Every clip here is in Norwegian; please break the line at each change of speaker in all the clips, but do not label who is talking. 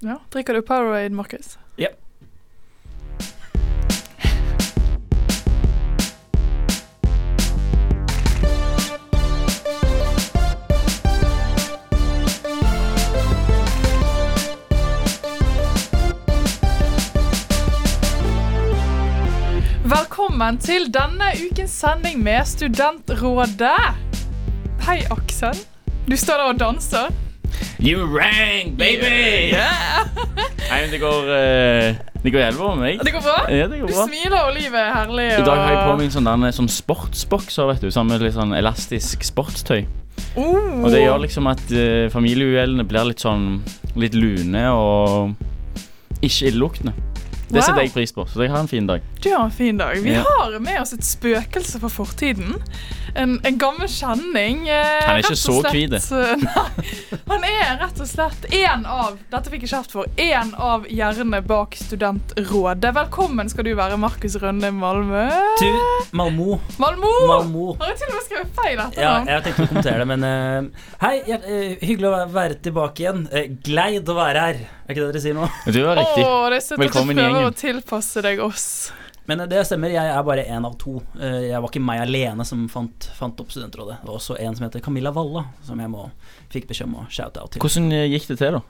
Ja. Drikker du Powerade, Markus?
Ja.
Velkommen til denne ukens sending med Studentrådet. Hei, Aksel. Du står der og danser.
You rang, baby!
Yeah.
Nei, men det går eh, Det går i helvete med meg.
Det går bra?
Ja, det
Du
går bra.
smiler, og livet er herlig.
I dag har jeg på
og-
meg en sånn, der, sånn sportsbokser, vet du. Sammen med litt sånn elastisk sportstøy.
Oh.
Og det gjør liksom at eh, familieuhellene blir litt sånn Litt lune og ikke illeluktende. Det
Wow.
setter jeg pris på, så jeg har en fin dag.
Du har en fin dag. Vi
Ja.
har med oss et spøkelse fra fortiden. En, en gammel kjenning. eh,
Han er ikke
rett og
så
slett-
kvide.
Nei. Han er rett og slett én av Dette fikk jeg kjeft for. Én av hjernene bak Studentrådet. Velkommen skal du være, Markus Rønne Malmö.
Du, Malmo.
Malmo!
Malmo.
Har jeg til og med skrevet feil
Ja,
etternavn?
jeg tenkte å kommentere det, men eh, Hei, hjert- eh, hyggelig å væ- være tilbake igjen. Eh, Gleid å være her. Er ikke det dere sier nå?
Du var
Å,
riktig.
det er søtt at du
Velkommen i
prøver
gjengen.
å tilpasse deg oss.
Men eh, det stemmer, jeg er bare én av to. Eh, Jeg var ikke meg alene som fant, fant opp Studentrådet. Det var også en som heter Camilla Walla, som jeg må, fikk beskjed om å shout-out til.
Hvordan eh, gikk det til, da?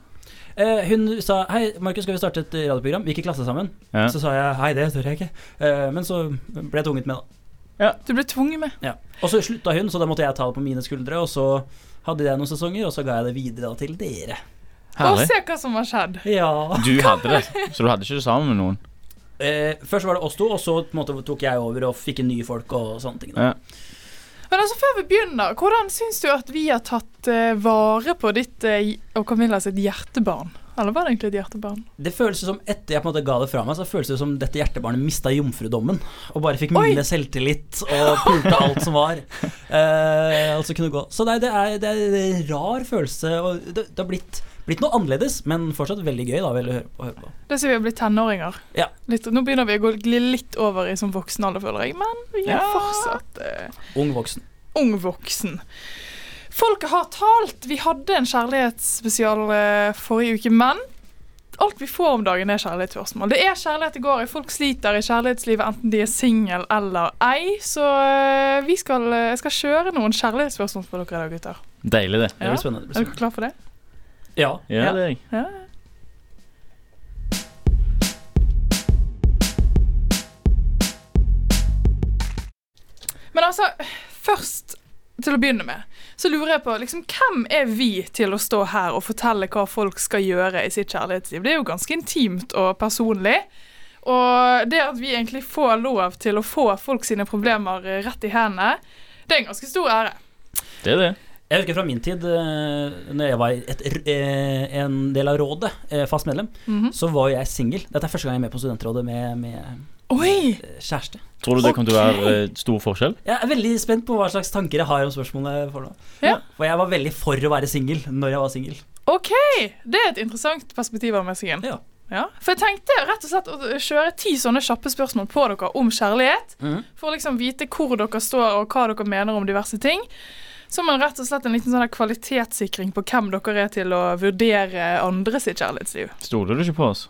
Eh, Hun sa hei, Markus, skal vi starte et eh, radioprogram? Vi gikk i klasse sammen.
Ja.
Så sa jeg hei, det tør jeg ikke. Eh, Men så ble jeg tvunget med, da.
Du ble tvunget med.
Ja. Og så slutta hun, så da måtte jeg ta det på mine skuldre. Og så hadde jeg noen sesonger, og så ga jeg det videre da til dere.
Og
Herlig.
se hva som har skjedd.
Ja
Du hadde det, så du hadde ikke det sammen med noen.
eh, Først var det oss to, og så på en måte, tok jeg over og fikk inn nye folk og sånne ting. Da.
Ja.
Men altså, før vi begynner, hvordan syns du at vi har tatt eh, vare på ditt eh, og Camilla sitt hjertebarn? Eller var det egentlig et hjertebarn?
Det føles som etter jeg på en måte ga det fra meg, så føles det som dette hjertebarnet mista jomfrudommen. Og bare fikk
Oi!
mye selvtillit og pulte alt som var. Eh, altså kunne gå. Så nei, det er, det er en rar følelse. Og det, det har blitt, blitt noe annerledes, men fortsatt veldig gøy da, vel, å høre på. Å høre på.
Det sier vi har blitt tenåringer.
Ja.
Litt, nå begynner vi å gå gli litt over i som voksen alder, føler jeg. Men vi er
Ja.
fortsatt eh,
Ung voksen.
ung voksen. Folket har talt. Vi hadde en kjærlighetsspesial eh, forrige uke, men alt vi får om dagen, er kjærlighetsspørsmål. Det er kjærlighet det går i. Folk sliter i kjærlighetslivet, enten de er singel eller ei. Så eh, vi skal, eh, jeg skal kjøre noen kjærlighetsspørsmål for dere i dag, gutter.
Deilig, det.
Det
Ja.
blir spennende. Det
Er
blir
dere klar for det?
spennende. Ja.
Ja, det er jeg.
Ja. Men altså, først til å begynne med, så lurer jeg på liksom, hvem er vi til å stå her og fortelle hva folk skal gjøre i sitt kjærlighetsliv? Det er jo ganske intimt og personlig. Og det at vi egentlig får lov til å få folk sine problemer eh, rett i hendene, det er en ganske stor ære.
Det er det.
Jeg husker fra min tid, eh, når jeg var et, r- eh, en del av rådet, eh, fast medlem,
Mhm.
så var jo jeg singel. Dette er første gang jeg er med på studentrådet med, med
Oi!
eh, kjæreste.
Tror du det kommer til å være
Ok.
eh, stor forskjell?
Jeg er veldig spent på hva slags tanker jeg har om spørsmålet for nå.
Ja.
For jeg var veldig for å være singel når jeg var singel.
Ok, det er et interessant perspektiv av messingen.
Ja.
Ja, for jeg tenkte rett og slett å kjøre ti sånne kjappe spørsmål på dere om kjærlighet,
Mhm.
for å liksom vite hvor dere står og hva dere mener om diverse ting. Som en rett og slett en liten sånn her kvalitetssikring på hvem dere er til å vurdere andre sitt kjærlighetsliv.
Stoler du ikke på oss?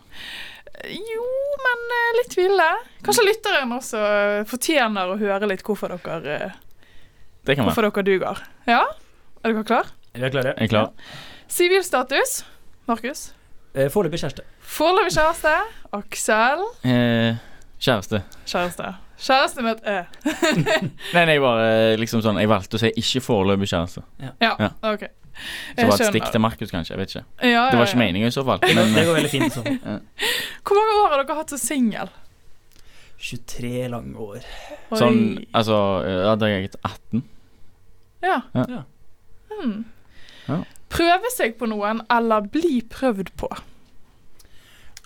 Jo, men eh, litt ville. Kanskje lytteren også eh, fortjener å høre litt hvorfor dere, eh,
Det kan være.
hvorfor dere duger. Ja, er dere klar?
Er dere klare?
Jeg er klar.
Sivilstatus, Markus.
Eh, Foreløpig kjæreste.
Foreløpig kjæreste, Aksel.
Eh, kjæreste.
Kjæreste. Kjæreste med et E.
Nei, nei, jeg bare eh, liksom sånn Jeg valgte å si ikke foreløpig kjæreste.
Ja,
Ja.
ok.
Så var det et stikk til Markus, kanskje. Jeg vet ikke.
Ja, ja,
Det var ikke
ja.
meningen i så fall.
Det
Men
går- det
eh,
går veldig fint. sånn. Så.
Hvor mange år har dere hatt som singel?
23 lange år.
Oi.
sånn Altså, eh, da hadde jeg gitt 18.
Ja.
Ja.
Hmm.
Ja.
Prøve seg på noen eller bli prøvd på.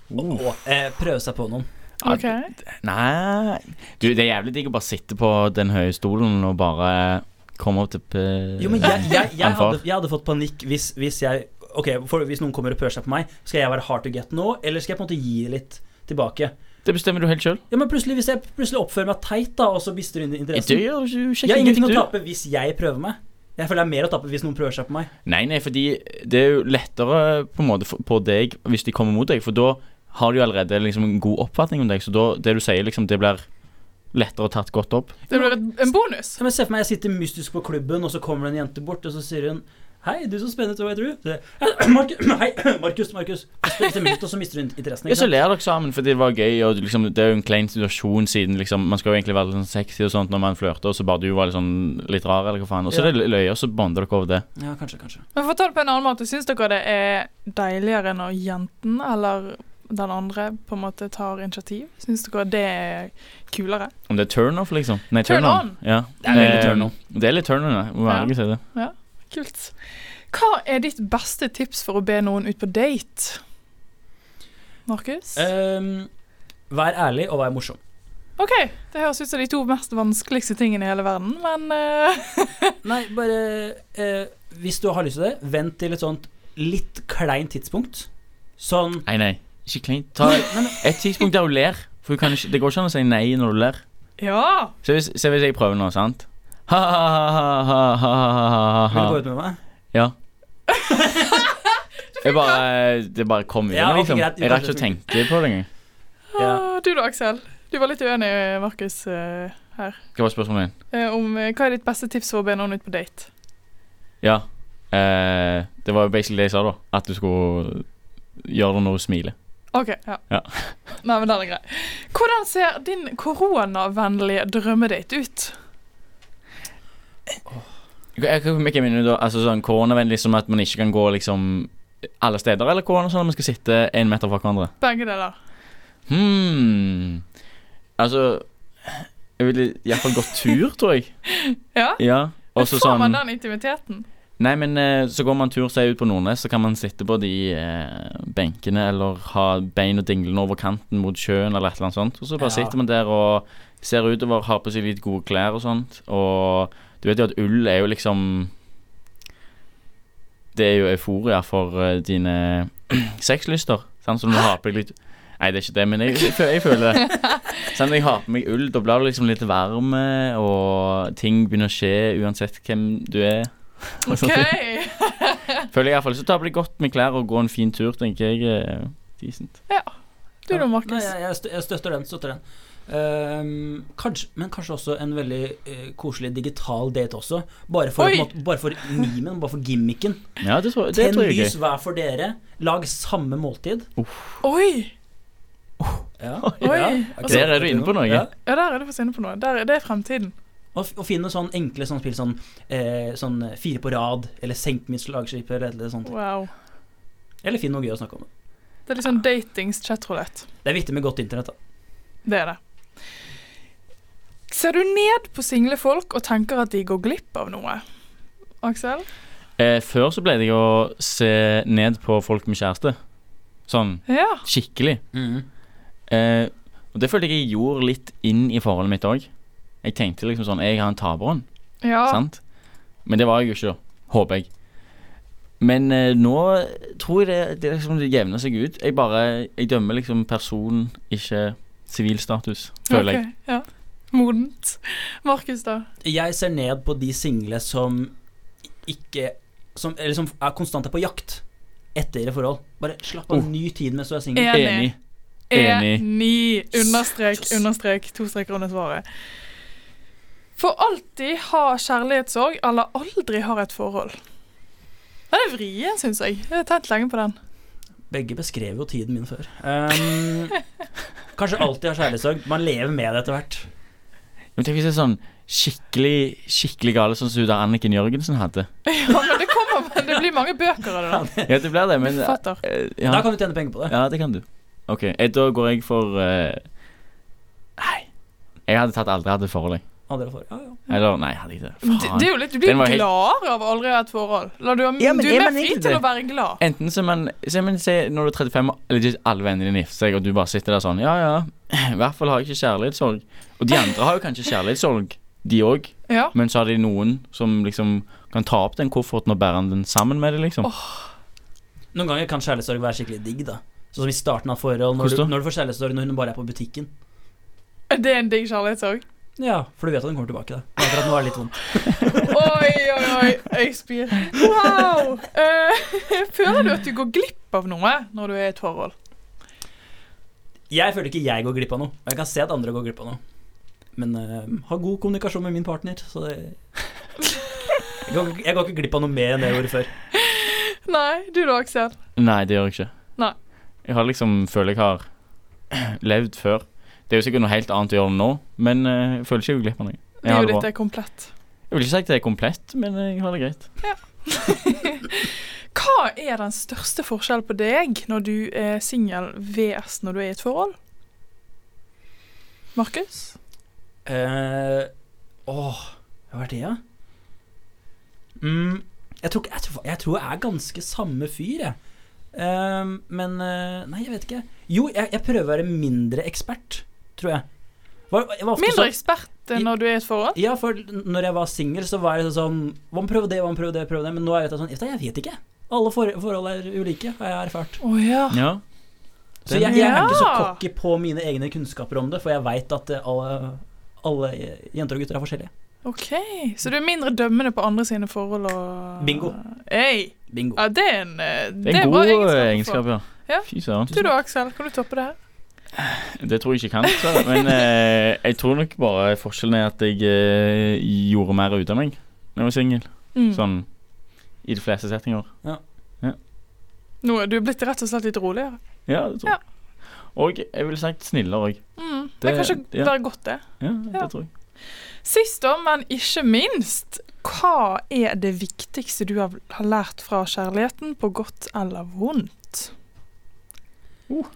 Oh.
Og eh, prøve seg på noen.
Ja,
Ok.
Nei Du, det er jævlig digg å bare sitte på den høye stolen og bare komme opp til p-
Jo, men jeg, jeg, jeg,
anfall.
hadde, jeg hadde fått panikk hvis, hvis jeg Ok, for hvis noen kommer og prøver seg på meg, skal jeg være hard to get nå, eller skal jeg på en måte gi litt tilbake?
Det bestemmer du helt sjøl.
Ja, men plutselig, Hvis jeg plutselig oppfører meg teit, da, og så mister hun
Du
interessen
gjør du ikke
Jeg har ingenting å
du.
tape hvis jeg prøver meg. Jeg føler det er mer å tape hvis noen prøver seg på meg.
Nei, nei, fordi det er jo lettere på, en måte for- på deg hvis de kommer mot deg, for da har de jo allerede liksom en god oppfatning om deg, så da, det du sier, liksom, det blir lettere tatt godt opp.
Det blir et- en bonus.
Ja, men Se for meg jeg sitter mystisk på klubben, og så kommer det en jente bort, og så sier hun Hei, du så spennende ut, hva heter du? Så, jeg, «Eh, «Mark- Hei, Markus, Markus. Og så stemmer ut, og så mister hun interessen.
Ja,
Ikke
så
sant?
ler dere sammen fordi det var gøy, og liksom, det er jo en klein situasjon siden liksom, man skal jo egentlig være litt sånn sexy og sånt når man flørter, og så bare du var litt sånn litt rar, eller hva faen, og så er det løye, og så bonder dere over det.
Ja, kanskje, kanskje.
Men for å ta det på en annen måte, syns dere det er deiligere når jenten eller den andre på en måte tar initiativ? Syns dere det er kulere?
Om det er turn off, liksom? Nei,
Turn
turn, on.
on.
Ja.
Det er veldig
Eh,
turn on.
Det er litt turn on, ja. Må være
Ja.
ærlig og si det.
Kult. Hva er ditt beste tips for å be noen ut på date? Markus?
Ehm, vær ærlig og vær morsom.
OK, det høres ut som de to mest vanskeligste tingene i hele verden, men eh,
Nei, bare eh, Hvis du har lyst til det, vent til et sånt litt kleint tidspunkt. Sånn
Nei, nei. Ikke kleint. Ta et tidspunkt der du ler. For du kan ikke, det går ikke an å si nei når du ler.
Ja!
Se hvis, se hvis jeg prøver nå, sant? Ha-ha-ha-ha-ha-ha-ha.
Vil du gå ut med meg?
Ja. Jeg bare, det bare kom ut.
Ja, ok,
liksom.
greit.
Jeg rakk ikke å tenke på det engang.
Ja.
Ah, Du da, Aksel. Du var litt uenig, Markus, eh,
Hva var spørsmålet ditt?
eh, om eh, hva er ditt beste tips for å be noen ut på date?
Ja. Eh, det var jo basically det jeg sa, da. At du skulle gjøre det når du smiler.
OK. Ja.
Ja.
Nei, men den er grei. Hvordan ser din koronavennlige drømmedate ut?
Jeg kan ikke minne da, altså sånn koronavennlig som at man ikke kan gå liksom alle steder, eller korona sånn at man skal sitte en meter fra hverandre?
Begge deler.
Hmm. Altså Jeg ville iallfall gått tur, tror jeg.
Ja?
Ja.
Men
Og så
får
sånn
man den intimiteten?
Nei, men eh, så går man tur seg ut på Nordnes, så kan man sitte på de eh, benkene eller ha beina dinglende over kanten mot sjøen eller et eller annet sånt. Og så bare
Ja.
sitter man der og ser utover, har på seg litt gode klær og sånt. Og du vet jo at ull er jo liksom Det er jo euforia for eh, dine sexlyster. Sant? Så når du har på deg litt Nei, det er ikke det, men jeg, jeg, fø- jeg føler det. Selv om jeg har på meg ull, da blir du liksom litt varm, eh, og ting begynner å skje uansett hvem du er.
OK!
Føler jeg iallfall. Så ta på deg godt med klær og gå en fin tur, tenker jeg. er Decent.
Du da,
Nei,
Markus.
jeg, jeg stø- jeg støtter den. støtter den Ehm, kanskje, Men kanskje også en veldig eh, koselig digital date også. Bare for,
Oi!
på en måte, bare for memen, bare for gimmicken.
Ja, det tror, det
Ten
tror jeg er
lys
gøy.
hver for dere. Lag samme måltid.
Oi!
Ja.
Oi. Altså,
ok.
Der er du inne på noe.
Ja.
Ja, der er du faktisk inne på noe. Der, er- det er fremtiden.
Og, f- og finne sånn enkle sånn spill sånn, eh, sånn eh, fire på rad, eller senk mitt slagskip, eller et eller annet sånt.
Wow.
Eller finn noe gøy å snakke om.
Det er litt sånn datings chatroulette.
Det er viktig med godt internett, da.
Det er det. Ser du ned på single folk og tenker at de går glipp av noe? Aksel?
Eh, før så pleide jeg å se ned på folk med kjæreste. Sånn
Ja.
skikkelig. Eh, og det følte jeg jeg gjorde litt inn i forholdet mitt òg. Jeg tenkte liksom sånn Jeg har en taperhånd,
ja.
sant? Men det var jeg jo ikke, da. Håper jeg. Men eh, nå tror jeg det, det liksom det jevner seg ut. Jeg bare Jeg dømmer liksom person, ikke sivilstatus, føler jeg.
Ok, Ja. Modent. Markus, da?
Jeg ser ned på de single som ikke som, Eller som er konstante på jakt etter et forhold. Bare slapp av,
Oh.
ny tid mens du er singel.
Ja. Enig.
Enig. Enig.
Enig. E Understrek, understrek, to streker under svaret. For alltid ha kjærlighetssorg eller aldri ha et forhold. Den er vrien, syns jeg. Jeg har tent lenge på den.
Begge beskrev jo tiden min før. Ehm, kanskje alltid har kjærlighetssorg. Man lever med det etter hvert.
Men tenk hvis det er sånn skikkelig skikkelig gale, sånn som hun der Anniken Jørgensen hadde.
Ja, men det kommer, men det blir mange bøker av det. da.
Ja, det blir det, men eh,
Forfatter.
ja.
Da kan du tjene penger på det.
ja, det kan du. OK, eh, da går jeg for eh, Nei. Jeg hadde tatt aldri hatt et forhold, jeg.
Andre får. Ja, ja.
Eller nei, jeg hadde ikke det.
Det, det er
Faen.
jo litt, Du blir
Den var helt-
glad av aldri å ha et forhold. La du,
Ja, men
du
er
er
man
mer fri til
egentlig det?
å være glad.
Enten så er man, så er man se, Når du er 35 og legit alle vennene dine gifter seg, og du bare sitter der sånn Ja, ja. I hvert fall har jeg ikke kjærlighetssorg. Og de andre har jo kanskje kjærlighetssorg, de òg.
Ja.
Men så har de noen som liksom kan ta opp den kofferten og bære den sammen med deg, liksom.
Noen ganger kan kjærlighetssorg være skikkelig digg, da. Sånn som i starten av forhold, når du,
Hvordan da?
når du får kjærlighetssorg når hun bare er på butikken.
Det er en digg kjærlighetssorg.
Ja, for du vet at hun kommer tilbake, da. kjente jeg at nå var det litt sånn vondt.
Oi, oi, oi. Jeg spyr. Wow. Eh, føler du at du går glipp av noe når du er i et forhold?
Jeg føler ikke jeg går glipp av noe. og Jeg kan se at andre går glipp av noe. Men eh, ha god kommunikasjon med min partner, så det jeg går, jeg går ikke glipp av noe mer enn det jeg gjorde før.
Nei, du da, Aksel.
Nei, det gjør jeg ikke.
Nei.
Jeg har liksom føler jeg har levd før. Det er jo sikkert noe helt annet å gjøre nå, men eh, jeg føler ikke jeg går glipp av noe. Jeg,
Livet
har det
ditt
bra.
er komplett.
jeg vil ikke si at det er komplett, men jeg har det greit.
Hva er den største forskjellen på deg når du er singel vs når du er i et forhold? Markus?
Eh, Åh, hva var det, da? Mm, jeg, tror, ikke- jeg, tror, jeg tror jeg er ganske samme fyr, jeg. Ehm, men eh, Nei, jeg vet ikke. Jo, jeg, jeg prøver å være mindre ekspert, tror jeg. Var, jeg var ofte
Mindre
sånn-
ekspert enn når du er i et forhold?
Ja, for når jeg var singel, så var jeg sånn Hva om prøve det, hva om prøve det, prøve det? Men nå er jeg litt sånn vet du, Jeg vet ikke. Alle for, forhold er ulike, har jeg erfart.
Å ja.
Ja.
Så jeg, jeg er ikke så
Ja.
cocky på mine egne kunnskaper om det, for jeg veit at eh, alle, alle jenter og gutter er forskjellige.
OK. Så du er mindre dømmende på andre sine forhold og
Bingo.
Hey.
Bingo.
Ja, det er en, eh,
Det er en
bra
god
å få.
egenskap, ja.
Ja.
Fy søren.
Du da, Aksel. Kan du toppe det her?
Det tror jeg ikke jeg kan, dessverre. Men eh, jeg tror nok bare forskjellen er at jeg eh, gjorde mer ut av meg når jeg var singel.
Mm.
Sånn i de fleste settinger.
Nå er du blitt rett og slett litt roligere.
Ja, det tror jeg. Og jeg ville sagt snillere òg.
Mm. Det,
Det-
kan kanskje
ja.
være godt, det.
Ja, det
Ja.
tror jeg.
Sist, da, men ikke minst, hva er det viktigste du har har lært fra kjærligheten, på godt eller vondt?
Uh.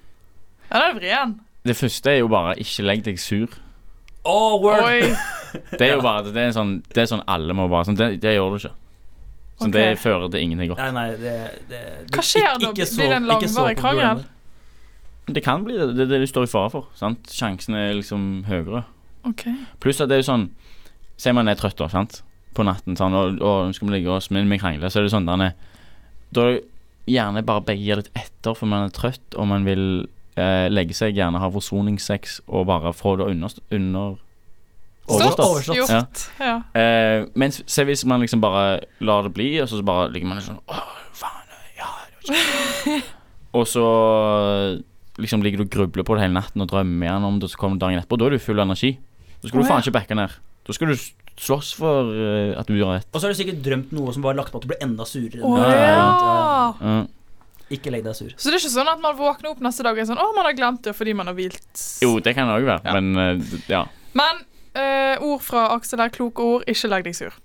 Ja, den er vrien.
Det første er jo bare ikke legg deg sur.
Oh, word.
Oi.
Det er jo bare det er sånn, det er sånn alle må bare sånn, det, det gjør du ikke. Så
Ok.
Det fører til ingenting godt.
Nei, nei, det, det, det
Hva skjer da?
ikke så-
Blir det en
ikke så
langvarig
på
krangel?
programmet.
Det kan bli det. Det er det du står i fare for. sant? Sjansen er liksom høyere.
Ok.
Pluss at det er jo sånn Se man er trøtt da, sant? på natten, sånn, og, og nå skal vi ligge oss, men vi krangler, så er det sånn der nede. Da er det gjerne bare begge gir litt etter, for man er trøtt, og man vil eh, legge seg, gjerne ha forsoningssex, og bare få det under... under
Stått,
overstått.
Overstått.
Gjort. Ja.
Eh, mens se hvis man liksom bare lar det bli, og så bare ligger man sånn Åh, faen, ja det var ikke-" Og så liksom ligger du og grubler på det hele natten og drømmer igjen om det, og så kommer dagen etterpå. Da er du full av energi. Da skal
Å,
du faen
ja.
ikke backe ned. Da skal du s- slåss for eh, at du gjør rett.
Og så har du sikkert drømt noe som bare har lagt på at du ble enda surere. enn
Å
det.
Ja, ja,
ja.
Ja.
Ikke legg deg sur.
Så det er ikke sånn at man våkner opp neste dag og er sånn Å, man har glemt det fordi man har hvilt.
jo, det kan det òg være,
Ja.
men eh, d- ja.
Men eh, ord fra Aksel er kloke ord. Ikke legg deg sur.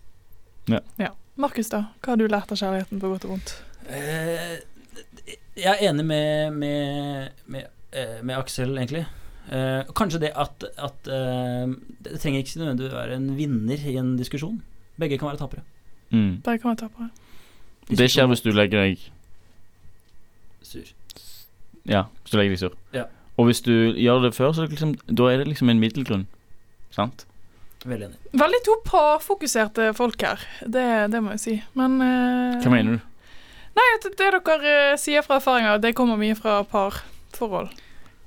Ja.
Markus, da? Hva har du lært av kjærligheten på godt og vondt?
Eh, jeg er enig med, med, med, eh, med Aksel, egentlig. Eh, kanskje det at, at eh, Det trenger ikke nødvendigvis å være en vinner i en diskusjon. Begge kan være tapere.
Mm.
Der kan jeg ta på det.
Det skjer hvis du legger deg
Sur.
Ja, hvis du legger deg sur.
Ja.
Og hvis du gjør det før, så er det liksom, da er det liksom en middelgrunn. Sant?
Veldig enig.
Veldig to parfokuserte folk her. Det, det må jeg si. Men eh,
Hva mener du?
Nei, at det dere eh, sier fra erfaringer, det kommer mye fra parforhold.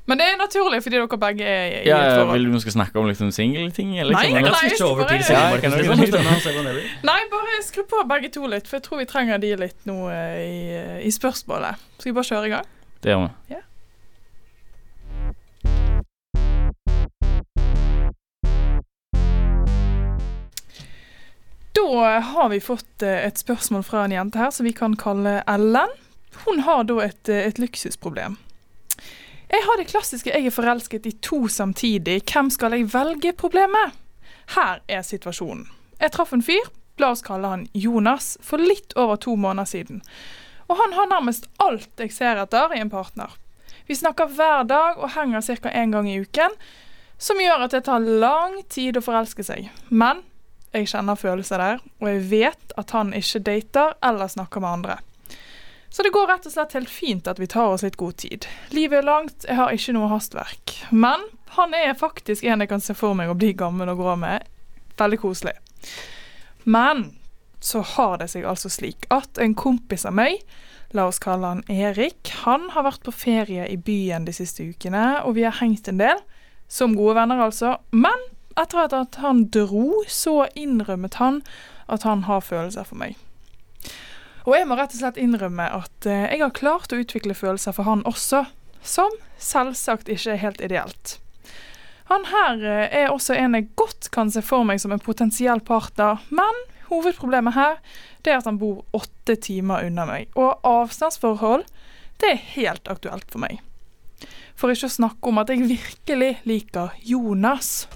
Men det er naturlig, fordi dere begge er i i
Ja,
et
ja,
forhold.
vil du vi skal snakke om liksom singelting? eller
Nei,
liksom,
jeg er
eller?
La oss
glad i
switche over til
svaret.
Ja, jeg
Silje
kan
Markus.
også
Det
si det.
blir spennende å se hvordan det blir.
Nei, bare skru på begge to litt, for jeg tror vi trenger de litt nå eh, i, i spørsmålet. Skal vi bare kjøre i gang?
Det gjør vi.
Da har vi fått eh, et spørsmål fra en jente her som vi kan kalle Ellen. Hun har da et, eh, et luksusproblem. Jeg har det klassiske 'jeg er forelsket i to samtidig, hvem skal jeg velge?'-problemet. Her er situasjonen. Jeg traff en fyr, la oss kalle han Jonas, for litt over to måneder siden. Og han har nærmest alt jeg ser etter i en partner. Vi snakker hver dag og henger ca. én gang i uken, som gjør at det tar lang tid å forelske seg. Men jeg kjenner følelser der, og jeg vet at han ikke dater eller snakker med andre. Så det går rett og slett helt fint at vi tar oss litt god tid. Livet er langt, jeg har ikke noe hastverk. Men han er faktisk en jeg kan se for meg å bli gammel og grå med. Veldig koselig. Men så har det seg altså slik at en kompis av meg, la oss kalle han Erik, han har vært på ferie i byen de siste ukene, og vi har hengt en del, som gode venner altså. Men Etter at han dro, så innrømmet han at han har følelser for meg. Og jeg må rett og slett innrømme at eh, jeg har klart å utvikle følelser for han også, som selvsagt ikke er helt ideelt. Han her eh, er også en jeg godt kan se for meg som en potensiell partner, men hovedproblemet her det er at han bor åtte timer unna meg, og avstandsforhold det er helt aktuelt for meg. For ikke å snakke om at jeg virkelig liker Jonas.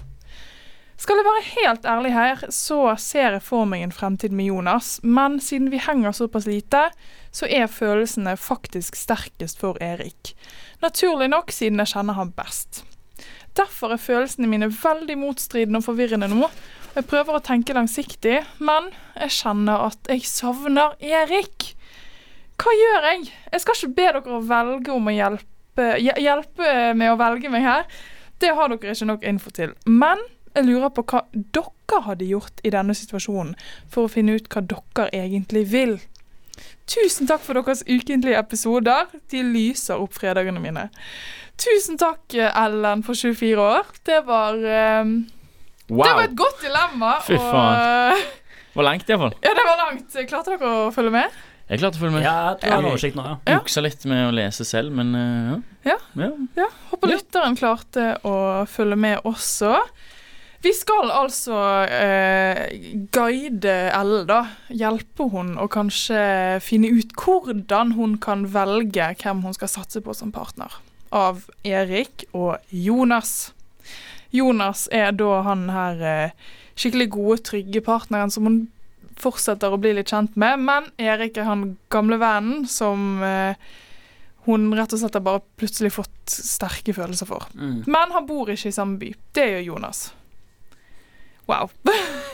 Skal jeg være helt ærlig her, så ser jeg for meg en fremtid med Jonas, men siden vi henger såpass lite, så er følelsene faktisk sterkest for Erik. Naturlig nok, siden jeg kjenner han best. Derfor er følelsene mine veldig motstridende og forvirrende nå. Jeg prøver å tenke langsiktig, men jeg kjenner at jeg savner Erik. Hva gjør jeg? Jeg skal ikke be dere å velge om å hjelpe, hj- hjelpe med å velge meg her. Det har dere ikke nok info til. Men jeg lurer på hva dere hadde gjort i denne situasjonen for å finne ut hva dere egentlig vil. Tusen takk for deres ukentlige episoder. De lyser opp fredagene mine. Tusen takk, eh, Ellen, for 24 år. Det var, eh, det var
Wow!
et godt dilemma.
Fy faen. Hvor langt, iallfall.
Og, ja, det var langt. Klarte dere å følge med?
Jeg klarte å følge med.
Ja, jeg tror jeg har en oversikt nå, ja.
Ja.
Juksa litt med å lese selv, men eh,
Ja.
ja.
Ja, håper lytteren klarte å følge med også. Vi skal altså eh, guide Ellen, da. Hjelpe hun og kanskje finne ut hvordan hun kan velge hvem hun skal satse på som partner. Av Erik og Jonas. Jonas er da han her eh, skikkelig gode, trygge partneren som hun fortsetter å bli litt kjent med. Men Erik er han gamle vennen som eh, hun rett og slett har bare plutselig fått sterke følelser for.
Mm.
Men han bor ikke i samme by. Det gjør Jonas. Wow.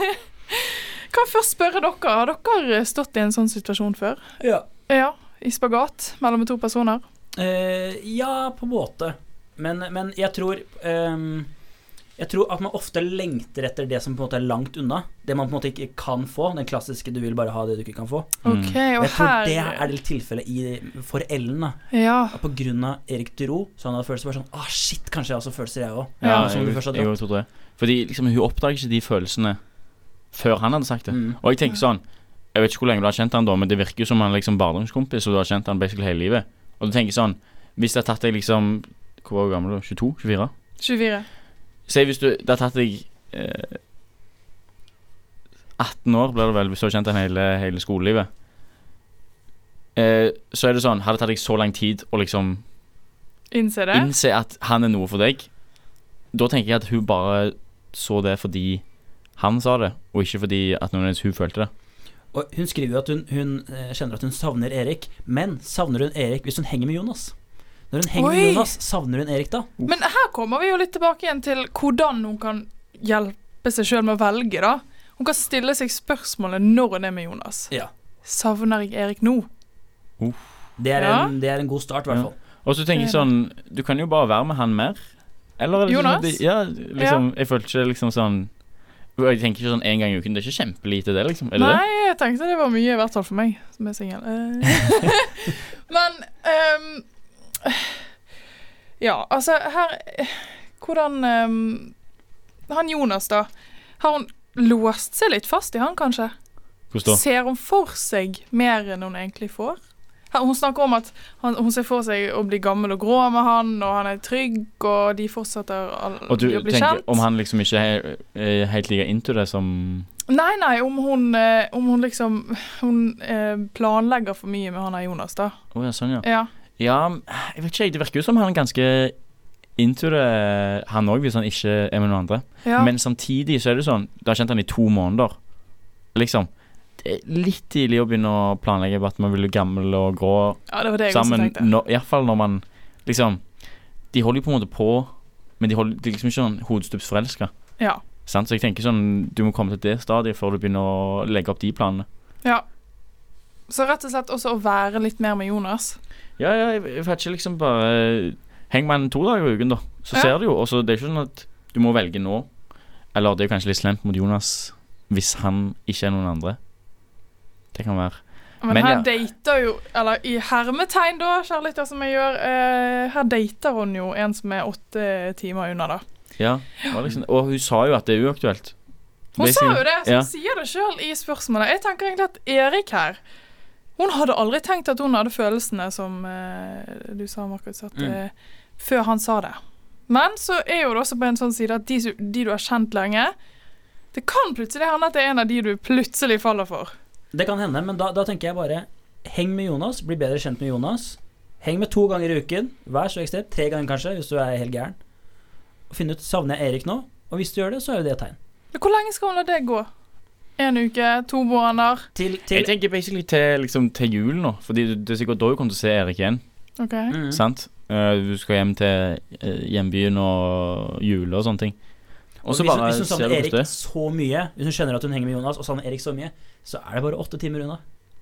kan jeg først spørre dere, har dere stått i en sånn situasjon før?
Ja.
Ja, i spagat mellom to personer?
Eh, ja, på en måte. Men, men jeg tror ehm, Jeg tror at man ofte lengter etter det som på en måte er langt unna. Det man på en måte ikke kan få. Den klassiske 'du vil bare ha det du ikke kan få'.
Mm.
Ok,
Og
og
jeg tror
her
det er det tilfellet i- for Ellen. da
Ja,
At På grunn av Erik Duro, så han hadde følelser bare sånn 'ah, shit, kanskje jeg også har følelser, jeg òg'.
Ja,
som du først har
jeg, jeg tror det. Fordi liksom, hun oppdager ikke de følelsene før han hadde sagt det.
Mm.
Og jeg tenker sånn Jeg vet ikke hvor lenge du har kjent han da, men det virker jo som han er liksom barndomskompis, og du har kjent han basically hele livet. Og du tenker sånn Hvis det har tatt deg liksom Hvor var du gammel da? 22? 24?
24.
Si hvis du Det har tatt deg eh, 18 år, blir det vel, hvis du har kjent han hele, hele skolelivet. Eh, så er det sånn Har det tatt deg så lang tid å liksom
Innse det?
innse at han er noe for deg, da tenker jeg at hun bare så det fordi han sa det, og ikke fordi at noen hennes hun følte det.
Og hun skriver jo at hun, hun eh, kjenner at hun savner Erik, men savner hun Erik hvis hun henger med Jonas? Når hun henger med
Oi.
Jonas, savner hun Erik da?
Men her kommer vi jo litt tilbake igjen til hvordan hun kan hjelpe seg sjøl med å velge, da. Hun kan stille seg spørsmålet når hun er med Jonas.
Ja.
Savner jeg Erik nå?
Det er,
Ja.
en, det er en god start, i hvert
Ja.
fall.
Og så tenker jeg sånn Du kan jo bare være med han mer. Eller er det
Jonas?
sånn at de- ja, liksom, Jeg følte ikke liksom sånn Jeg tenker ikke sånn én gang i uken. Det er ikke kjempelite, det, liksom. Er det det?
Nei, jeg tenkte det var mye, i hvert fall for meg som er singel. Eh, Men ehm, Ja, altså her eh, Hvordan ehm, Han Jonas, da. Har hun låst seg litt fast i han, kanskje?
Hvordan da?
Ser hun for seg mer enn hun egentlig får? Her- Hun snakker om at han, hun ser for seg å bli gammel og grå med han, og han er trygg, og de fortsetter å,
Og du
å bli
tenker
kjent.
om han liksom ikke er, er helt like into det som
Nei, nei, om hun, eh, om hun liksom Hun eh, planlegger for mye med han her Jonas, da.
Å ja, sånn, ja.
Ja.
Ja, jeg vet ikke, jeg. Det virker jo som han er ganske into det, han òg, hvis han ikke er med noen andre.
ja.
Men samtidig så er det sånn Du har kjent han i to måneder Liksom Det er litt tidlig å begynne å planlegge på At man vil bli gammel og grå
ja, det var det jeg
sammen
også tenkte.
no, I hvert fall når man liksom De holder jo på en måte på Men de, holder, de er liksom ikke sånn hodestupsforelska
Ja.
sant? Så jeg tenker sånn Du må komme til det stadiet Før du begynner å legge opp de planene
ja. Så rett og slett også å være litt mer med Jonas.
Ja, ja, jeg, jeg vet ikke liksom bare eh, Heng med en to dager i uken da Så
Ja.
ser du jo Og så det er ikke sånn at Du må velge nå Eller det er jo kanskje litt slemt mot Jonas Hvis han ikke er noen andre Det kan være
Men,
Men
her
ja.
dater jo Eller i hermetegn, da, kjærligheter som jeg gjør. Eh, her dater hun jo en som er åtte timer unna, da.
Ja, det var liksom, og hun sa jo at det er uaktuelt.
Hun sa
Basically.
jo det, så
Ja.
hun sier det sjøl i spørsmålet. Jeg tenker egentlig at Erik her Hun hadde aldri tenkt at hun hadde følelsene som eh, du sa, Markus, at,
Mm.
eh, før han sa det. Men så er jo det også på en sånn side at de, som- de du har kjent lenge Det kan plutselig hende at det er en av de du plutselig faller for.
Det kan hende, men da, da tenker jeg bare Heng med Jonas, bli bedre kjent med Jonas. Heng med to ganger i uken. Vær så ekstrem. Tre ganger kanskje, hvis du er helt gæren. Og Finn ut savner jeg Erik nå. Og hvis du gjør det, så er jo det et tegn.
Men Hvor lenge skal hun la det gå? En uke? To måneder?
Til,
Jeg
til
tenker basically til, liksom, til jul nå, Fordi du- det er sikkert da hun kommer til å se Erik igjen.
Ok.
Mm.
Sant? Eh, du skal hjem til eh, hjembyen og jule og sånne ting. Og så
hvis,
bare
hvis hun
ser
savner
du
Erik
borte.
så mye, hvis hun skjønner at hun henger med Jonas og savner Erik så mye, så er det bare åtte timer unna.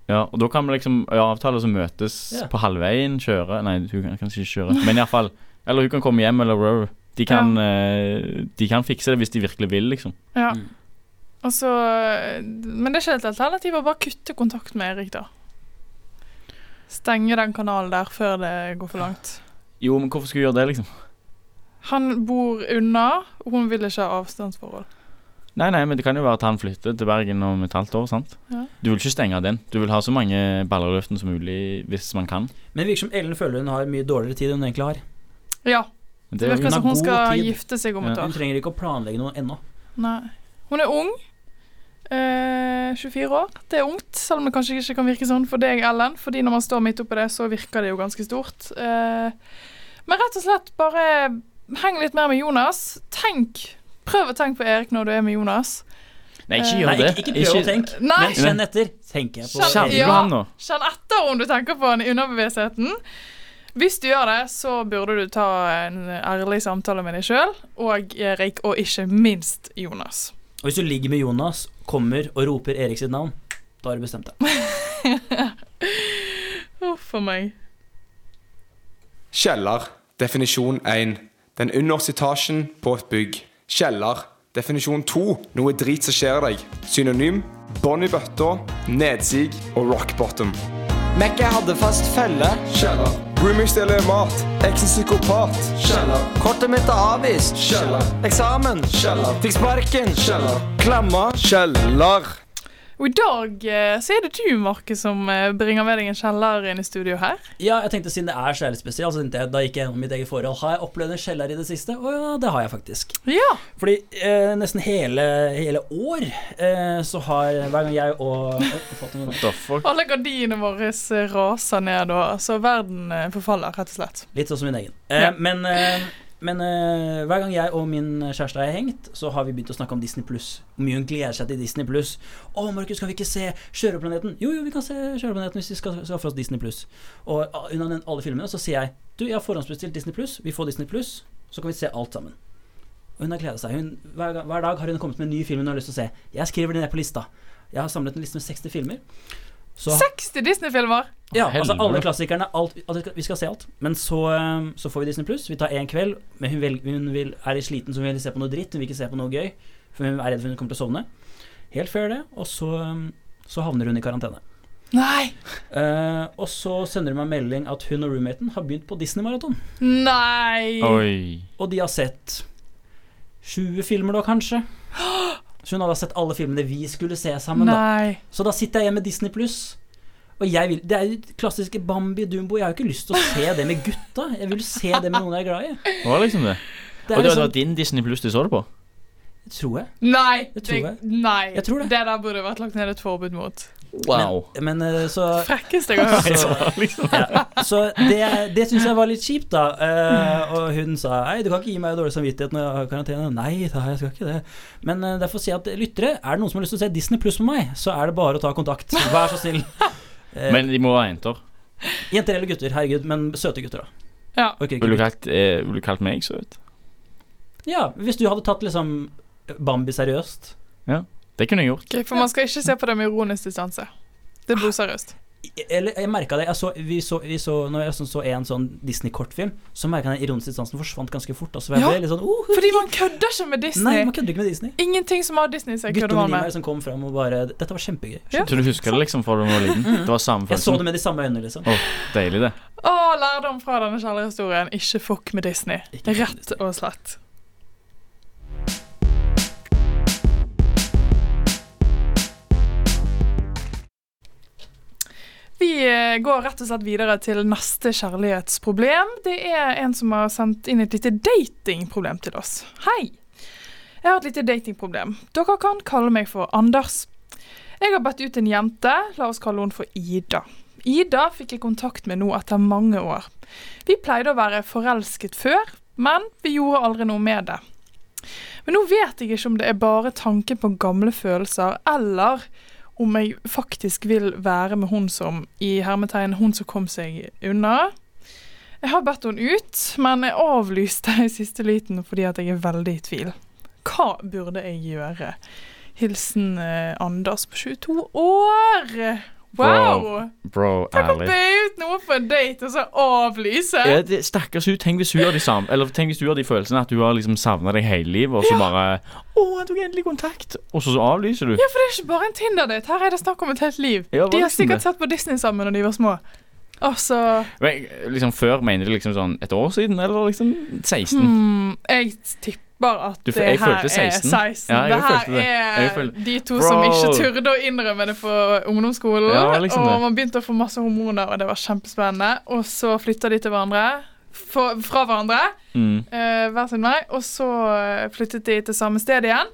Ja, og da kan vi liksom ja, avtale å møtes
Ja.
på halvveien, kjøre Nei, hun kan kanskje ikke kjøre, men iallfall. Eller hun kan komme hjem, eller whatever. De kan, eh, de kan fikse det hvis de virkelig vil, liksom.
Ja.
Mm.
Og så Men det er ikke et alternativ å bare kutte kontakt med Erik, da. Stenge den kanalen der før det går for langt.
Jo, men hvorfor skulle hun gjøre det, liksom?
Han bor unna, og hun vil ikke ha avstandsforhold.
Nei, nei, men det kan jo være at han flytter til Bergen om et halvt år, sant?
Ja.
Du vil ikke stenge den. Du vil ha så mange baller i luften som mulig hvis man kan.
Men det virker som Ellen føler hun har mye dårligere tid enn hun egentlig har.
Ja,
Men
det
det er
virker
jo
har
som hun
god
skal
tid.
gifte seg om et
Ja.
Hun
år.
trenger ikke å planlegge noe ennå.
Nei. Hun er ung. Eh, 24 år. Det er ungt, selv om det kanskje ikke kan virke sånn for deg, Ellen. Fordi når man står midt oppi det, så virker det jo ganske stort. Eh, men rett og slett, bare heng litt mer med Jonas. Tenk. Prøv å tenke på Erik når du er med Jonas.
Nei, ikke
Eh,
gjør
Nei,
det.
ikke, ikke prøv å tenke,
Nei!
men kjenn etter. Tenker jeg på
Kjenn-
Savner
Erik.
Ja.
du han nå?
Kjenn etter om du tenker på han i underbevisstheten. Hvis du gjør det, så burde du ta en ærlig samtale med deg sjøl og Erik, og ikke minst Jonas.
Og hvis du ligger med Jonas, kommer og roper Erik sitt navn, da har du bestemt deg.
Huff a meg.
Kjeller. Definisjon 1. Den underste etasjen på et bygg. Kjeller. Definisjon 2. Noe drit som skjer deg. Synonym bånn i bøtta, nedsig og rock bottom.
Mekka hadde fast felle.
Kjeller. Roomies deler mat. Eksen psykopat. Kjeller.
Kortet mitt er avvist.
Kjeller.
Eksamen.
Kjeller.
Fikk sparken.
Kjeller. Klamma. Kjeller.
Og i dag eh, så er det du, Markus, som eh, bringer med deg en kjeller inn i studio her.
Ja, jeg tenkte siden det er så jævlig spesielt, så tenkte jeg, da gikk jeg gjennom mitt eget forhold. Har jeg opplevd en kjeller i det siste? Å ja, det har jeg faktisk.
Ja.
Fordi eh, nesten hele, hele år eh, så har hver gang jeg og Oi, jeg falt noe nå.
The fuck?
Alle gardinene våre eh, raser ned, og så verden eh, forfaller, rett og slett.
Litt sånn som min egen. Eh,
Ja.
Men, eh, men eh, hver gang jeg og min kjæreste er hengt, så har vi begynt å snakke om Disney pluss. Hvor mye hun gleder seg til Disney pluss. 'Å, Markus, kan vi ikke se Sjørøverplaneten?' Jo, jo, vi kan se Sjørøverplaneten hvis vi skal skaffe oss Disney pluss. Og ah, hun har nevnt alle filmene, så sier jeg 'Du, jeg har forhåndsbestilt Disney pluss. Vi får Disney pluss, så kan vi se alt sammen'. Og hun har gleda seg. Hun, hver, gang- hver dag har hun kommet med en ny film hun har lyst til å se. Jeg skriver det ned på lista. Jeg har samlet en liste med 60 filmer. Så
60 Disney-filmer!
ja,
Helvete.
altså alle klassikerne. Alt, altså, vi skal se alt. Men så, eh, så får vi Disney Pluss. Vi tar én kveld. Men hun, vel, hun vil, er litt sliten, så hun vil se på noe dritt. Hun vil ikke se på noe gøy. For hun er redd for hun kommer til å sovne. Helt fair, det. Og så, eh, så havner hun i karantene.
Nei!
Eh, og så sender hun meg melding at hun og roommaten har begynt på Disney-maraton.
Nei!
Oi.
Og de har sett 20 filmer da, kanskje. Så hun hadde sett alle filmene vi skulle se sammen. da
Nei.
Så da sitter jeg igjen med Disney Pluss. Og jeg vil, Det er jo det klassiske Bambi Dumbo. Jeg har jo ikke lyst til å se det med gutta. Jeg vil jo se det med noen jeg er glad i.
Det var liksom det.
Det
og
er
det var
liksom,
din Disney Plus du så det på?
tror jeg.
Nei!
Jeg tror det.
Nei.
Jeg tror det.
det der burde vært lagt ned et forbud mot.
Men, men eh, så,
Frekkeste jeg har hørt.
liksom-
ja. så det, det syns jeg var litt kjipt, da. Eh, og hun sa Nei, du kan ikke gi meg dårlig samvittighet når jeg har karantene. Nei da, jeg skal ikke det. Men eh, derfor sier jeg at lyttere, er det noen som har lyst til å se Disney Pluss med meg, så er det bare å ta kontakt. Vær så snill. Eh,
Men de må ha jenter.
jenter eller gutter, herregud. Men søte gutter, da.
Ja.
Orker ikke
Ville du kalt, eh, vil du kalt meg søt?
Ja, hvis du hadde tatt liksom Bambi seriøst
Det kunne jeg gjort.
Ok, for man skal ikke se på det med ironisk distanse. Det er blodseriøst.
I- Eller jeg merka det jeg så, vi så, vi så, Når jeg sånn så en sånn Disney-kortfilm, så merka jeg den ironiske distansen forsvant ganske fort. Altså, jeg
Ja,
ble litt sånn oh,
Fordi man kødder ikke med
Nei,
Disney.
man kødder ikke med Disney.
Ingenting som har Disney i seg, kødder man
Guttungen i
med.
meg som kom fram og bare Dette var kjempegøy.
Ja.
Så du husker det liksom fra da du var liten? Det var samme
Jeg så
følelsen.
det med de samme øynene, liksom.
Deilig, det.
Å, lærdom fra denne kjærlighetshistorien. Ikke fuck med Disney.
Ikke fuck med
Rett og slett. eh, går rett og slett videre til neste kjærlighetsproblem. Det er en som har sendt inn et lite datingproblem til oss. Hei. Jeg har et lite datingproblem. Dere kan kalle meg for Anders. Jeg har bedt ut en jente. La oss kalle henne for Ida. Ida fikk jeg kontakt med nå etter mange år. Vi pleide å være forelsket før, men vi gjorde aldri noe med det. Men nå vet jeg ikke om det er bare tanken på gamle følelser, eller om jeg faktisk vil være med hun som i hermetegn, hun som kom seg unna. Jeg har bedt henne ut, men jeg avlyste i siste liten fordi at jeg er veldig i tvil. Hva burde jeg gjøre? Hilsen eh, Anders på 22 år. Wow!
Wow. Bro,
Tenk å be
ærlig.
ut noe på en date og så avlyse.
Ja, det- Stakkars hun. Tenk hvis hun har de samme Eller tenk hvis hun har de følelsene at du har liksom savna deg hele livet, og så bare 'Å, han tok endelig kontakt', og så, så avlyser du.
Ja, for det er ikke bare en Tinder-date. Her er det snakk om et helt liv.
Ja, hva
de har
liksom det?
sikkert sett på Disney sammen når de var små. Altså
Men, liksom Før mener du liksom sånn et år siden, eller liksom 16?
hmm, Jeg tipper at
Du, for
det
jeg
her
følte 16.
er 16.
Ja, jeg
det her
følte det. Jeg
er
følte-
de to
Bro.
som ikke turde å innrømme det på ungdomsskolen.
Ja, liksom det.
og man begynte å få masse hormoner, og det var kjempespennende. Og så flytta de til hverandre. For, fra hverandre.
Mm.
eh, hver sin vei. Og så eh, flyttet de til samme sted igjen.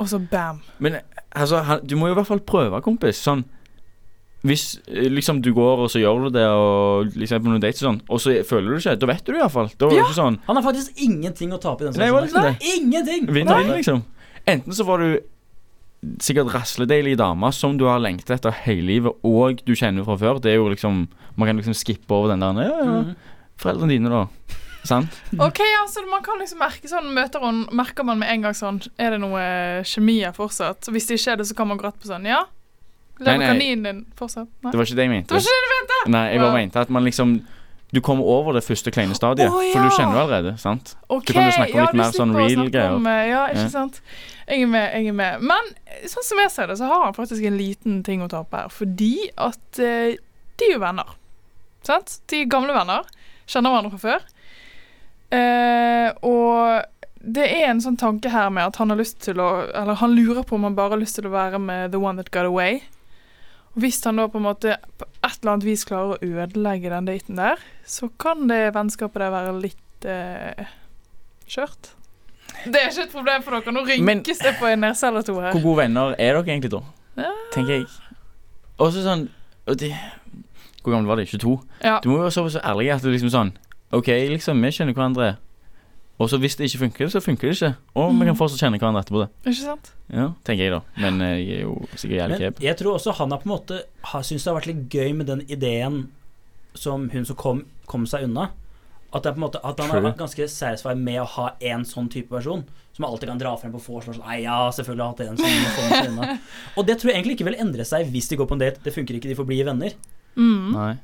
Og så bam.
Men altså, han, du må jo i hvert fall prøve, kompis. Sånn Hvis eh, liksom du går og så gjør du det, og liksom er på noen dates og sånn, og så føler du ikke, da vet du det iallfall. Da er det
Ja.
ikke sånn
Han har faktisk ingenting å tape i den
Nei, hva er det som
situasjonen. Ingenting!
Vinn-vinn, liksom. Enten så får du sikkert rasledeilige damer som du har lengtet etter hele livet, og du kjenner fra før. Det er jo liksom Man kan liksom skippe over den der ja, ja,
Mhm.
Foreldrene dine, da. Sant?
Ok, ja, så Man kan liksom merke sånn, møter hun, merker man med en gang sånn Er det noe kjemi her fortsatt? Hvis det ikke er det, så kan man gå rett på sånn Ja,
Nei,
lever
nei.
kaninen din fortsatt? Nei.
Det var ikke det jeg mente.
Det var ikke det du mente!
Nei, jeg bare
Wow.
mente at man liksom Du kommer over det første kleine stadiet,
Å,
for du
ja.
kjenner jo allerede, sant?
Ok,
kan jo snakke om
ja,
litt
du
mer sånn
slipper å
real
snakke
greier.
om, eh, Ja, ikke
Ja.
sant? Jeg er med, jeg er med. Men eh, sånn som jeg ser det, så har han faktisk en liten ting å tape her. Fordi at eh, de er jo venner. Sant? De er gamle venner. Kjenner hverandre fra før. Eh, og det er en sånn tanke her med at han har lyst til å Eller han lurer på om han bare har lyst til å være med The One That Got Away. Og hvis han da på en måte på et eller annet vis klarer å ødelegge den daten der, så kan det vennskapet der være litt eh, skjørt. Det er ikke et problem for dere. Nå
Men-
rynkes det på en nese eller to her.
Hvor gode venner er dere egentlig da?
Ja.
Tenker jeg. Og så sånn og de, Hvor gammel var de? 22?
Ja.
Du må jo være såpass ærlig at det liksom sånn OK, liksom, vi kjenner hverandre. Og så hvis det ikke funker, så funker det ikke. Og vi
Mm.
Mhm.
kan fortsatt kjenne hverandre etterpå det.
Ikke sant?
Ja, tenker jeg da. Men eh, jeg er jo sikkert jævlig
Men
kjep.
jeg tror også han har på en måte har syntes det har vært litt gøy med den ideen som hun som kom, kom seg unna. At, det er på en måte, at han har
True.
vært ganske satisfied med å ha en sånn type person. Som alltid kan dra frem på vors og sånn Nei, ja, selvfølgelig har jeg hatt en som kom seg unna. Og det tror jeg egentlig ikke vil endre seg hvis de går på en date. Det funker ikke, de får bli venner.
Mm.
Nei.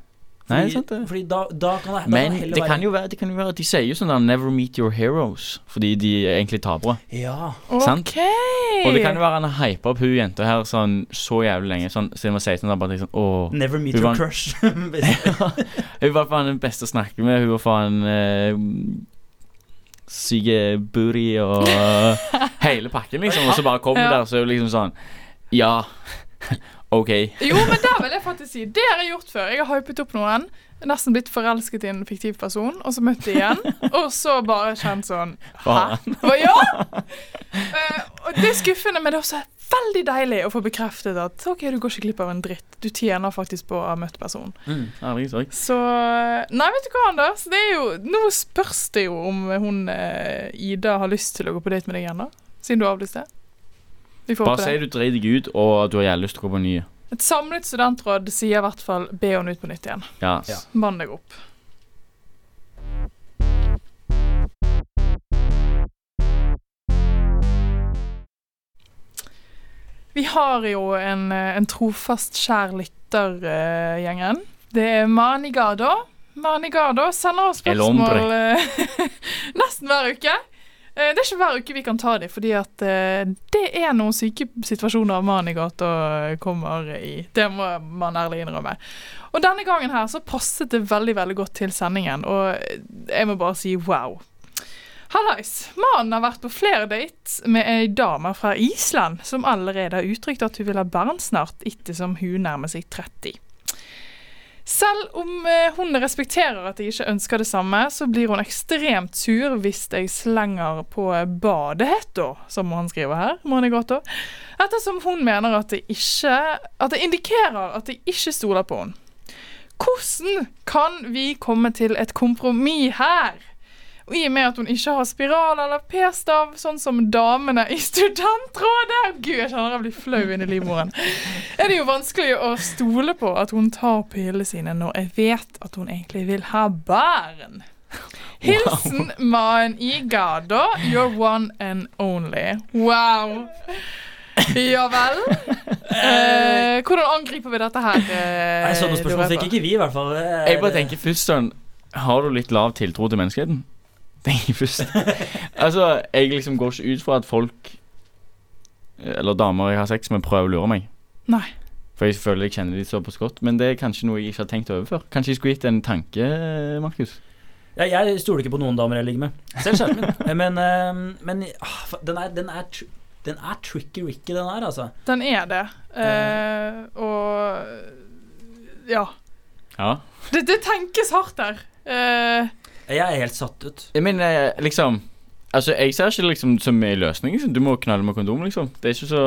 Nei,
Fordi,
sant det.
fordi da, da kan det, da
Men
kan det heller
det kan
være
jo være, det kan jo være De sier jo sånn der 'never meet your heroes', fordi de er egentlig tapere.
Ja.
Sant.
OK!
Og det kan jo være han har hypa opp hun jenta her sånn så jævlig lenge. Sånn, siden hun var 16 da bare tenkt sånn Åh
Never meet
Hun
your
var-
crush.
Hun var faen den beste å snakke med. Hun var faen eh, Syke booty og hele pakken, liksom. Og så bare kom hun
Ja.
der, så er hun liksom sånn Ja, OK.
Jo, men der vil jeg faktisk si Det har jeg gjort før. Jeg har hypet opp noen. Nesten blitt forelsket i en fiktiv person, og så møtt de igjen. Og så bare kjent sånn Hæ?
Faen.
Hva, ja! Eh, og det er skuffende, men det er også veldig deilig å få bekreftet at OK, du går ikke glipp av en dritt. Du tjener faktisk på å ha møtt personen.
Mm.
Ærlig sak.
Så eh, Nei, vet du hva, Anders? Det er jo, nå spørs det jo om hun eh, Ida har lyst til å gå på date med deg igjen, da. Siden du avlyste. Vi får
Bare
håpe det.
si du dreit deg ut, og at du har jævlig lyst til å gå på en ny.
Et samlet studentråd sier i hvert fall be henne ut på nytt igjen.
Ja.
Ja.
Mann deg opp. Vi har jo en, eh, en trofast kjær lytter-gjengen. Det er Mani Gado. Mani Gado sender oss
El hombre.
spørsmål eh, nesten hver uke. Eh, Det er ikke hver uke vi kan ta dem, fordi at eh, det er noen syke situasjoner Mani Gado kommer i. Det må man ærlig innrømme. Og denne gangen her så passet det veldig veldig godt til sendingen, og jeg må bare si wow. Hallais! Mannen har vært på flere dates med ei dame fra Island som allerede har uttrykt at hun vil ha barn snart, ettersom hun nærmer seg 30. Selv om eh, hun respekterer at jeg ikke ønsker det samme, så blir hun ekstremt sur hvis jeg slenger på badehetta, som han skriver her. Monegato, ettersom hun mener at det ikke At det indikerer at jeg ikke stoler på henne. Hvordan kan vi komme til et kompromiss her? Og I og med at hun ikke har spiral eller p-stav, sånn som damene i Studentrådet Gud, jeg kjenner jeg blir flau inni livmoren. Er det jo vanskelig å stole på at hun tar pillene sine når jeg vet at hun egentlig vil ha barn? Hilsen Maren Igado, your one and only. Wow. Ja vel. Eh, hvordan angriper vi dette her? eh,
Nei, Sånne
lurer
spørsmål
jeg
fikk
på?
ikke vi, i hvert fall. Det er-
Jeg bare tenker først sånn Har du litt lav tiltro til menneskeheten? Tenker jeg først. altså, jeg liksom går ikke ut fra at folk Eller damer jeg har sex med, prøver å lure meg.
Nei.
For jeg føler jeg kjenner de såpass godt. Men det er kanskje noe jeg ikke har tenkt over før. Kanskje jeg skulle gitt en tanke, eh, Markus.
Ja, jeg stoler ikke på noen damer jeg ligger med. Selv skjermen min. Men, eh, men ah, fa- den, er, den, er tr den er tricky ricky, den her, altså.
Den er det. Eh, og ja.
Ja.
Det, det tenkes hardt der. Eh,
Jeg er helt satt ut.
Jeg mener, liksom Altså, jeg ser ikke det liksom som en løsning. Liksom. Du må knalle med kondom, liksom. Det er ikke så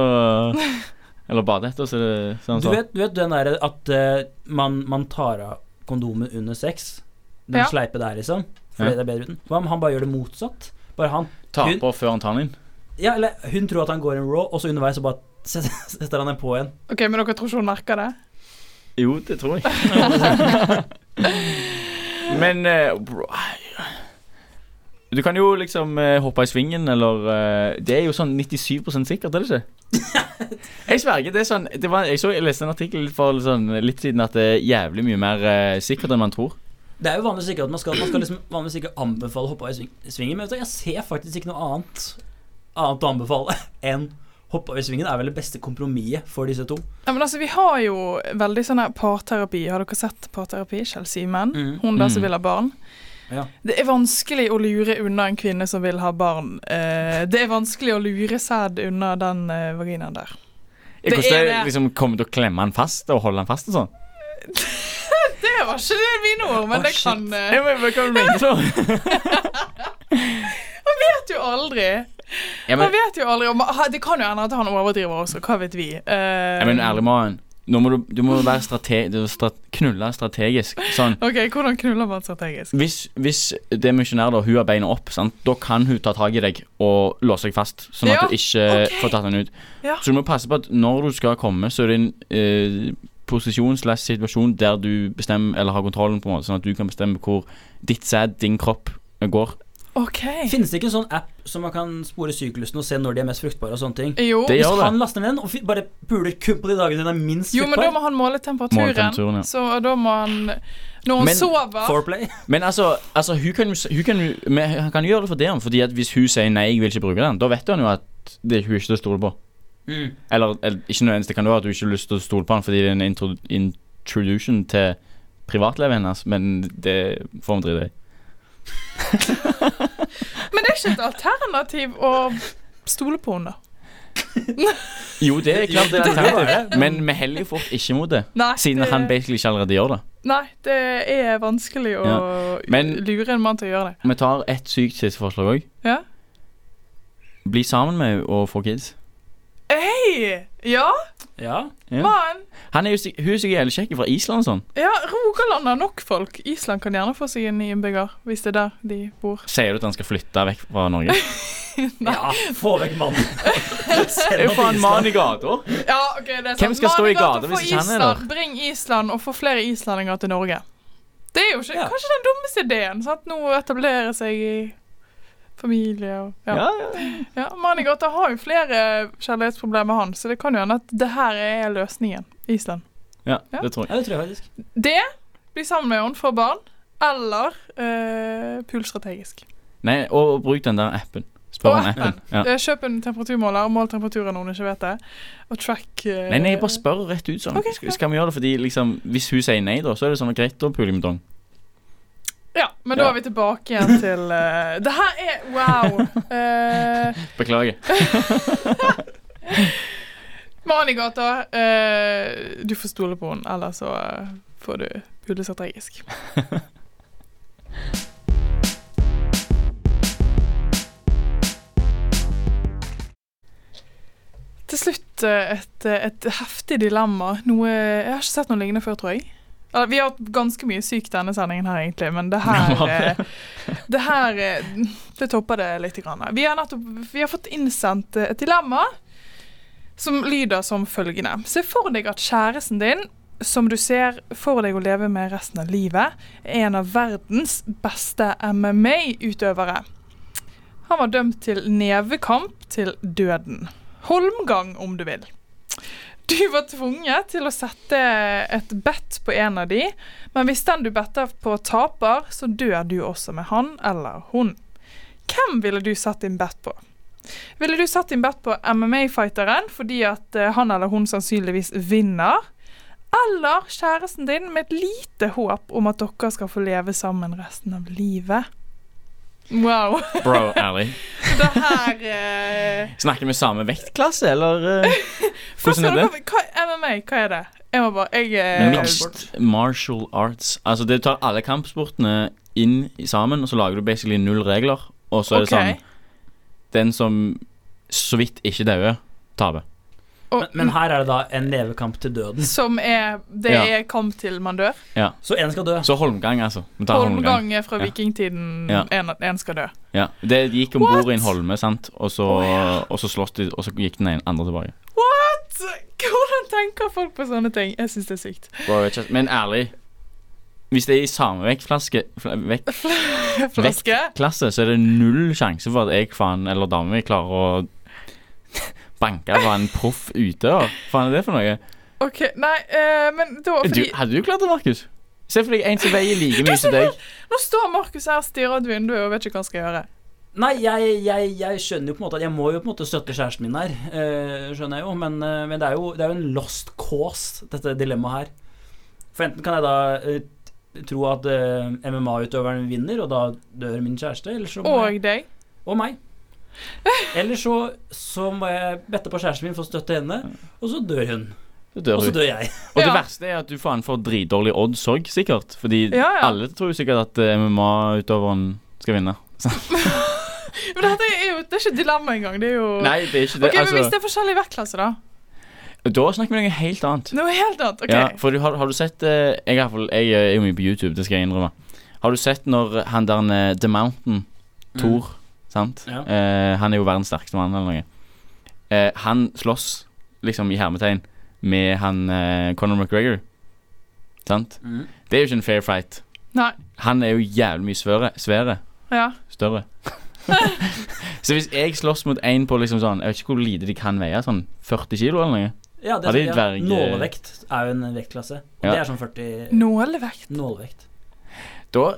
eh, Eller bade etter, så det sånn,
Du vet, du vet den derre at eh, man, man tar av kondomet under sex? Den
Ja.
sleipe der, liksom? Fordi
Ja.
det er bedre uten? Hva om han bare gjør det motsatt? Bare han
Taper før han tar den inn.
Ja, eller hun tror at han går in raw, og så underveis så bare set- setter han den på igjen.
OK, men dere tror ikke hun merker det?
Jo, det tror jeg. Men eh, bro, Du kan jo liksom eh, hoppe i svingen, eller eh, Det er jo sånn 97 sikkert, er det ikke? Jeg sverger. det er sånn det var, Jeg så jeg leste en artikkel for sånn, litt siden at det er jævlig mye mer eh, sikkert enn man tror.
Det er jo vanligvis ikke at man skal Man skal liksom vanligvis ikke anbefale å hoppe av i sving, svingen, men vet du, jeg ser faktisk ikke noe annet Annet å anbefale enn hoppe av i svingen. Det er vel det beste kompromisset for disse to.
Ja, men altså, Vi har jo veldig sånn her parterapi. Har dere sett parterapi? Chelsea Men.
Mm.
Hun der som
Mm.
vil ha barn.
Ja.
Det er vanskelig å lure unna en kvinne som vil ha barn. Eh, det er vanskelig å lure sæd unna den eh, vaginaen der. Det
Det Hvordan
er
det
det.
liksom kommer til å klemme han fast og holde han fast og sånn?
Det var ikke det mine ord, men
Å,
det
shit.
kan eh,
Ja, men hva kan du mene så?
Vet jo aldri.
Ja,
Man
men,
vet jo aldri. og man- ha- Det kan jo hende at han overdriver også. Hva vet vi? Eh,
ja, men ærlig mann, nå må du, du må være strate, du må stra- knulle strategisk. Sånn.
OK, hvordan knuller man strategisk?
Hvis, hvis det er misjonær da, hun har beina opp, sant? da kan hun ta tak i deg og låse deg fast, sånn at
Ja,
du ikke
ok.
får tatt den ut.
Ja.
Så du må passe på at når du skal komme, så er det en eh, posisjon slash situasjon der du bestemmer, eller har kontrollen, på en måte, sånn at du kan bestemme hvor ditt sæd, din kropp, eh, går.
OK.
Finnes det ikke en sånn app som man kan spore syklusen og se når de er mest fruktbare og sånne ting?
Jo,
Det gjør
Hvis
det.
han laster ned den og fi- bare puler kun på de dagene den er minst
jo men da
fruktbar
må han måle temperaturen.
Måle temperaturen, ja.
Så da må han Når han
Men-
sover
Foreplay.
Men altså, altså hun kan, jo- hun kan, jo- men han kan jo gjøre det for det, om, fordi at hvis hun sier nei, jeg vil ikke bruke den, da vet han jo at det, hun ikke er til å stole på.
Mm.
Eller, eller ikke nødvendigvis, det kan jo være at hun ikke har lyst til å stole på han fordi det er en intro, introduction til privatlivet hennes, men det får vi drite i.
Men det er ikke et alternativ å stole på henne, da.
Jo, det er klart det eh, er
Jo, det er
alternativ, men vi heller jo fort ikke mot det,
Nei,
siden
det,
han basically ikke allerede gjør det.
nei, det er vanskelig å
Men-
lure en mann til å gjøre det.
Vi tar ett sykt siste forslag òg.
Ja.
Bli sammen med henne og få kids.
Hei! Ja,
Ja.
Ja.
mann!
Han er jo, sik- hun er sikkert jævlig kjekk fra Island og sånn.
Ja, Rogaland har nok folk. Island kan gjerne få seg en ny innbygger, hvis det er der de bor.
Sier du at han skal flytte vekk fra Norge?
ja. Få vekk mannen. Send
Er
ham
jo faen
til
mann i
Island.
gata.
Ja, ok, det er sant.
Hvem skal stå i
Mannegata
gata
for
hvis ikke han er
Island. Bring Island og få flere islendinger til Norge. Det er jo ikke,
Ja.
kanskje den dummeste ideen. sant? Nå etablere seg i familie og
Ja,
ja.
ja.
ja Mannen i gata har jo flere kjærlighetsproblemer, han, så det kan jo hende at det her er løsningen. Island.
Ja,
Ja.
det tror jeg.
Ja, det tror jeg faktisk.
Det blir sammen med henne, får barn, eller eh, pul strategisk.
Nei, og bruk den der appen. Spør
Og
om appen. Ja.
Eh, Kjøp en temperaturmåler, mål temperaturen når hun ikke vet det, og track eh,
Nei, nei, jeg bare spør rett ut sånn.
Ok,
Skal- Skal vi gjøre det? Fordi liksom, Hvis hun sier nei, da, så er det sånn greit, da puler jeg med dong.
Ja, men da
Ja.
er vi tilbake igjen til eh, Det her er wow! Uh,
Beklager.
Manigata, eh, du får stole på henne, eller så eh, får du Pulitzer tragisk. Til slutt eh, et, et heftig dilemma. Noe Jeg har ikke sett noe lignende før, tror jeg. Eller, Vi har hatt ganske mye sykt denne sendingen her, egentlig, men det her, eh, det, her eh, det topper det litt. Grann. Vi, har nettopp, vi har fått innsendt eh, et dilemma som lyder som følgende. Se for deg at kjæresten din, som du ser for deg å leve med resten av livet, er en av verdens beste MMA-utøvere. Han var dømt til nevekamp til døden. Holmgang, om du vil. Du var tvunget til å sette et bet på en av de, men hvis den du better på taper, så dør du også med han eller hun. Hvem ville du satt din bet på? Ville du satt din bet på MMA-fighteren fordi at eh, han eller hun sannsynligvis vinner? Eller kjæresten din med et lite håp om at dere skal få leve sammen resten av livet? Wow.
Bro, ærlig.
Det her eh,
Snakker vi samme vektklasse, eller eh,
Først
Hvordan er
må
det?
dere- Hva, MMA, hva er det? Jeg må bare jeg, eh,
Mixed martial arts. Altså, det tar alle kampsportene inn i- sammen, og så lager du basically null regler, og så er det
Ok.
sånn Den som så vidt ikke dauer, taper.
Og,
Men, men her er det da en levekamp til døden.
Som er Det
Ja.
er kamp til man dør.
Så en skal dø.
Så Holmgang, altså. Vi tar Holmgang.
Holmgang er fra vikingtiden.
Ja.
En, en skal dø.
Ja. Det gikk om bord
What?
i en holme, sant, og så,
Å, ja.
og så slåss de, og så gikk den ene andre tilbake.
What?! Hvordan tenker folk på sånne ting? Jeg syns det er sykt.
Bro, jeg vet ikke- Men ærlig, hvis det er i samme vektflaske fl- vekt,
Flaske.
klasse, så er det null sjanse for at jeg faen eller dama mi klarer å banke på en proff utøver. Faen er det for noe?
OK, nei, eh, men da
Du,
fordi,
hadde du klart det, Markus? Se for deg en som veier like mye som deg.
Nå står Markus her og stirrer ut vinduet og vet ikke hva han skal gjøre.
Nei, jeg, jeg, jeg skjønner jo på en måte at jeg må jo på en måte støtte kjæresten min her. eh, skjønner jeg jo, men, eh, men det, er jo, det er jo en lost cause, dette dilemmaet her. For enten kan jeg da eh, t- tro at eh, MMA-utøveren vinner, og da dør min kjæreste, eller så må jeg,
Og deg.
og meg. Eller så, så må jeg bette på kjæresten min for å støtte henne, og så dør hun.
Så dør
Og så
hun.
dør jeg.
Og det
Ja.
verste er at du faen får dritdårlig odds òg, sikkert. Fordi
Ja, ja.
alle tror jo sikkert at eh, MMA-utøveren skal vinne.
Men dette er jo Det er ikke et dilemma engang. Det er jo
Nei, det er ikke det.
Mm. Ok, men Hvis
altså,
det er forskjellig vektklasse, da?
da snakker vi om noe helt annet.
Noe helt annet. OK.
Ja, for du, har, har du sett eh, jeg, er i hvert fall- jeg er jo mye på YouTube, det skal jeg innrømme. Har du sett når han der eh, The Mountain,
Mm.
Thor, sant?
Ja.
Eh, han er jo verdens sterkeste mann eller noe. Eh, han slåss, liksom i hermetegn, med han eh, Conor McGregor. Sant?
Mm.
Det er jo ikke en fair fight.
Nei.
Han er jo jævlig mye svøre, svære.
Ja.
Større. Så hvis jeg slåss mot en på liksom sånn Jeg vet ikke hvor lite de kan veie, sånn 40 kilo eller noe.
Ja, det,
Ja, det er
ja,
dverg- eh,
nålevekt er jo en vektklasse. Og
Ja.
det er sånn 40
Nålevekt.
nålevekt.
Da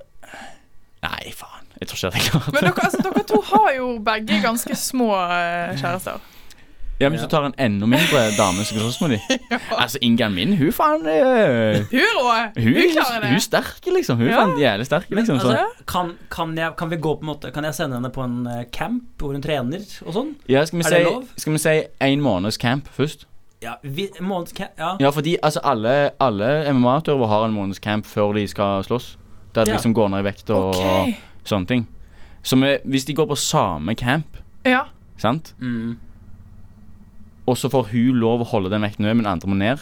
Nei, faen. Jeg tror ikke at jeg klarer
Men dere, altså, dere to har jo begge ganske små eh, kjærester.
Ja, men
Ja.
så tar en enda mindre dame som slåss med dem. Altså, Inga min, hun faen eh,
Hun er rå! Hun
Hun,
klarer
hun er
det.
sterk, liksom. Hun
Ja.
faen jævlig sterk,
Men,
liksom. Så.
altså, kan, kan, jeg, kan vi gå på en måte Kan jeg sende henne på en eh, camp hvor hun trener og sånn?
Ja, skal vi
er det
si-
lov?
Skal vi si en måneds camp først?
Ja, vi, måned, ca- ja.
Ja, fordi altså, alle, alle MMA-utøvere har en måneds camp før de skal slåss. Der de
Ja.
liksom går ned i vekt og
OK.
sånne ting. Så vi, hvis de går på samme camp,
Ja.
sant,
Mm,
og så får hun lov å holde den vekten hun, men andre må ned,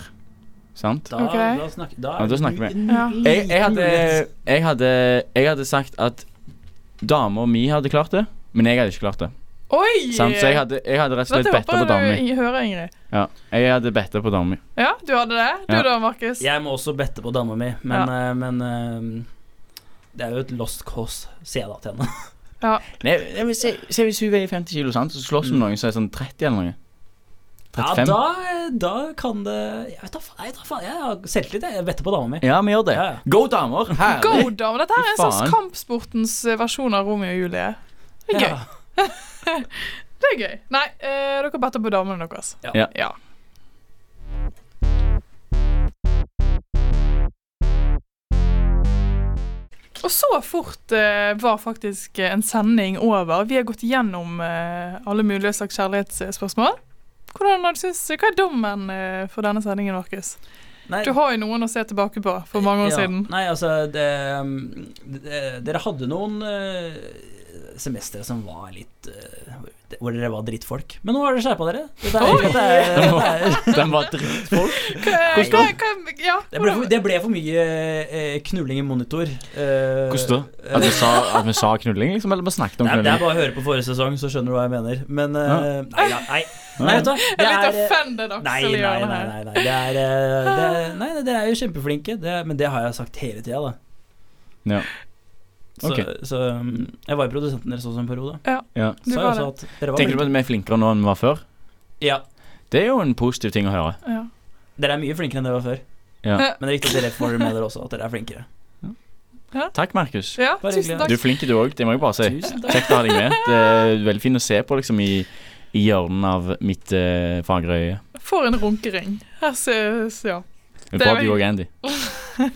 sant
da,
Ok.
da snakker, da, Mm.
Ja, da snakker vi.
en
Ja.
liten
jeg, jeg, hadde,
mulighet.
jeg, hadde, jeg hadde sagt at dama mi hadde klart det, men jeg hadde ikke klart det.
Oi!
Sant? Så jeg hadde, jeg hadde rett og slett
Dette
betta på
håper
dama
jeg
mi.
du hører, Ingrid.
Ja, jeg hadde betta på dama mi.
Ja, du hadde det? Du
Ja.
da, Markus?
Jeg må også bette på dama mi, men, eh, men eh, det er jo et lost cause, sier jeg da til henne.
Nei, nei, men se, se hvis hun veier 50 kilo, sant? så slåss hun med noen som er sånn 30 eller noe.
Ja,
35. Ja,
da, eh, da kan det Jeg vet da faen, jeg vet da faen, jeg har selvtillit, jeg. Jeg better på dama mi.
vi gjør det.
Ja, ja.
Go, damer!
Go,
Herlig!
dame! Dette her er en
Fy
slags
faen.
kampsportens eh, versjon av Romeo og Julie. Det er gøy.
Ja.
Det er gøy. Nei, eh, dere better på damene deres.
Ja.
Ja.
ja. Og så fort eh, var faktisk eh, en sending over. Vi har gått gjennom eh, alle mulige slags kjærlighetsspørsmål. Hvordan har du syns- Hva er dommen eh, for denne sendingen, Markus?
Nei,
Du har jo noen å se tilbake på for mange år
ja.
siden.
Nei, altså det, um, det, Dere hadde noen eh, semestre som var litt eh, Hvor dere var drittfolk. Men nå har dere skjerpa dere. Dette er,
Oi!
dette er,
Den
dette er,
var, den var drittfolk.
Hva, hva,
Hvordan
hva, ja,
det, ble for,
hvordan-
det ble for mye eh, knulling i monitor. eh,
Hvordan da? At vi sa, at vi sa knulling, liksom? Eller bare snakket om
Nei, det er
knulling?
bare å høre på forrige sesong, så skjønner du hva jeg mener. Men eh,
Ja.
nei, nei, nei, nei, vet du hva.
Jeg er litt
Det er- eh,
offended, Aksel.
Nei,
i
nei, nei,
hjørnet her.
nei, nei. Det er, eh, det er, nei, nei, dere er jo kjempeflinke, det, er- men det har jeg sagt hele tida, da.
Ja.
Så,
Ok.
så um, jeg var jo produsenten deres også en periode.
Ja.
Så
Du
jeg
var
også
det.
at dere var
Tenker du på
flinke.
at vi er flinkere nå enn vi var før?
Ja,
Det er jo en positiv ting å høre.
Ja. Eh,
dere er mye flinkere enn dere var før.
Ja.
Men det er riktig at dere får med dere også, at dere er flinkere.
Takk, Markus.
ja,
Bare
tusen
hyggelig.
Du
takk.
er flink du òg, det må jeg bare si.
Tusen takk.
Kjekt å ha deg med. Det er veldig fint å se på liksom i, i hjørnet av mitt eh, fagre øye.
For en runkering. Her ses, ja.
Det er
Det er
bra du
veldig-
òg, Andy.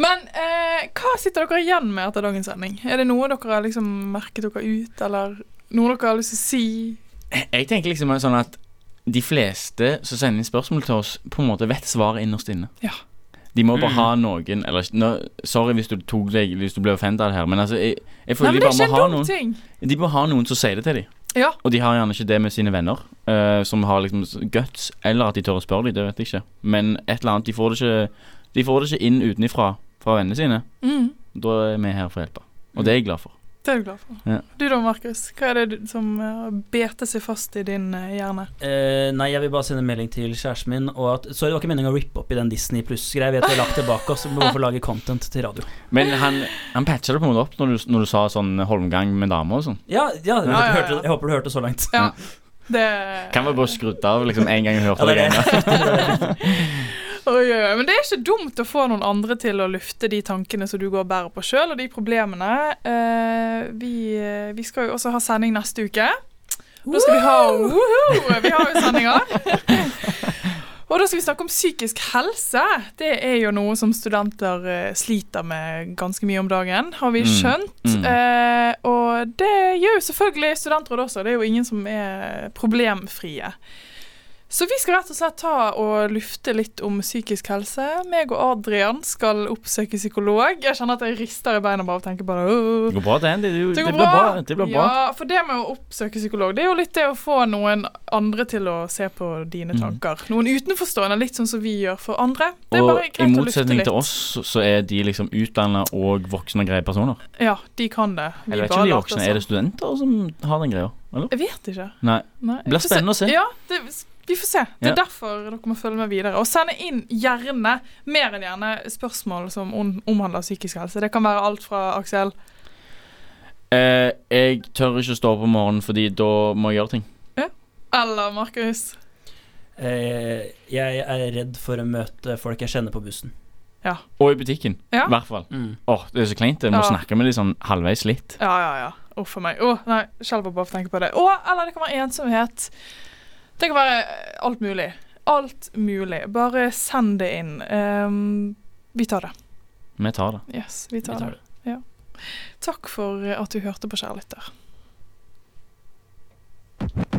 Men eh, hva sitter dere igjen med etter dagens sending? Er det noe dere har liksom merket dere ut, eller noe dere har lyst til å si?
Jeg tenker liksom sånn at de fleste som sender inn spørsmål til oss, på en måte vet svaret innerst inne.
Ja.
De må bare
Mm.
ha noen eller, nå, Sorry hvis du tok deg Hvis du ble offenda her, men altså jeg,
Nei,
jeg føler
men
de
det er
bare
ikke
må
en
ha
dum
noen
ting.
De må ha noen som sier det til dem.
Ja.
Og de har gjerne ikke det med sine venner, eh, som har liksom s- guts, eller at de tør å spørre dem, det vet jeg ikke. Men et eller annet De får det ikke, de får det ikke inn utenifra fra vennene sine.
Mm,
Da er vi her for å hjelpe. Og det er jeg glad for.
det er du glad for.
Ja.
Du da, Markus. Hva er det du- som uh, beter seg fast i din eh, hjerne?
Eh, nei, jeg vil bare sende en melding til kjæresten min og at Sorry, det var ikke meningen å rippe opp i den Disney pluss-greia. Vi har lagt tilbake oss, vi må få lage content til radio.
Men han, han patcha det på en måte opp når du, når du sa sånn holmgang med damer og sånn.
Ja, ja, jeg,
ja, ja.
Hørte, jeg håper du hørte så langt.
Ja. Det
Kan vi bare skrudd av liksom en gang jeg hørte
Eller
det.
det.
Oi, oi, oi. Men det er ikke dumt å få noen andre til å lufte de tankene som du går og bærer på sjøl, og de problemene. Eh, vi, eh, vi skal jo også ha sending neste uke. Da skal vi ha Woohoo! Vi har jo sendinger. Og da skal vi snakke om psykisk helse. Det er jo noe som studenter eh, sliter med ganske mye om dagen, har vi
Mm,
skjønt.
mm.
Eh, og det gjør jo selvfølgelig studentrådet også. Det er jo ingen som er problemfrie. Så vi skal rett og slett ta og lufte litt om psykisk helse. Meg og Adrian skal oppsøke psykolog. Jeg kjenner at jeg rister i beina bare av å tenke på det. Åh.
Det går bra, det, Andy. Det,
Det
det,
går
blir bra.
bra.
Det blir bra.
Ja, for det med å oppsøke psykolog, det er jo litt det å få noen andre til å se på
Mm.
dine tanker. Noen utenforstående, litt sånn som vi gjør for andre. Det er
Og
bare
i
greit å lufte
motsetning
litt.
til oss, så- så er de liksom utdanna og voksne og greie personer.
Ja, de kan det. Vi
Jeg vet ikke
bare
om de
later
voksne
som.
Er det studenter som har den greia? Eller?
Jeg vet ikke.
Nei.
Nei,
Det blir
vi får
spennende å se.
Ja, det, vi får se. Det er
Ja.
derfor dere må følge med videre. Og sende inn gjerne, mer enn gjerne, spørsmål som om- omhandler psykisk helse. Det kan være alt fra Aksel
Eh, jeg tør ikke å stå opp om morgenen, fordi da må jeg gjøre ting.
eller Markus.
Eh, jeg er redd for å møte folk jeg kjenner på bussen.
Og i butikken,
Ja.
i hvert fall.
Mm.
Åh, Det er så kleint. Jeg
Ja.
må snakke med de sånn halvveis litt.
Ja, ja, ja. Uff a meg. Å, nei, skjelver bare av å tenke på det. Å, eller det kan være ensomhet. Det kan være eh, alt mulig. Alt mulig. Bare send det inn. Ehm, vi tar det.
Vi tar det.
Yes, vi tar,
Vi tar
det. Takk for eh, at du hørte på, kjære lytter.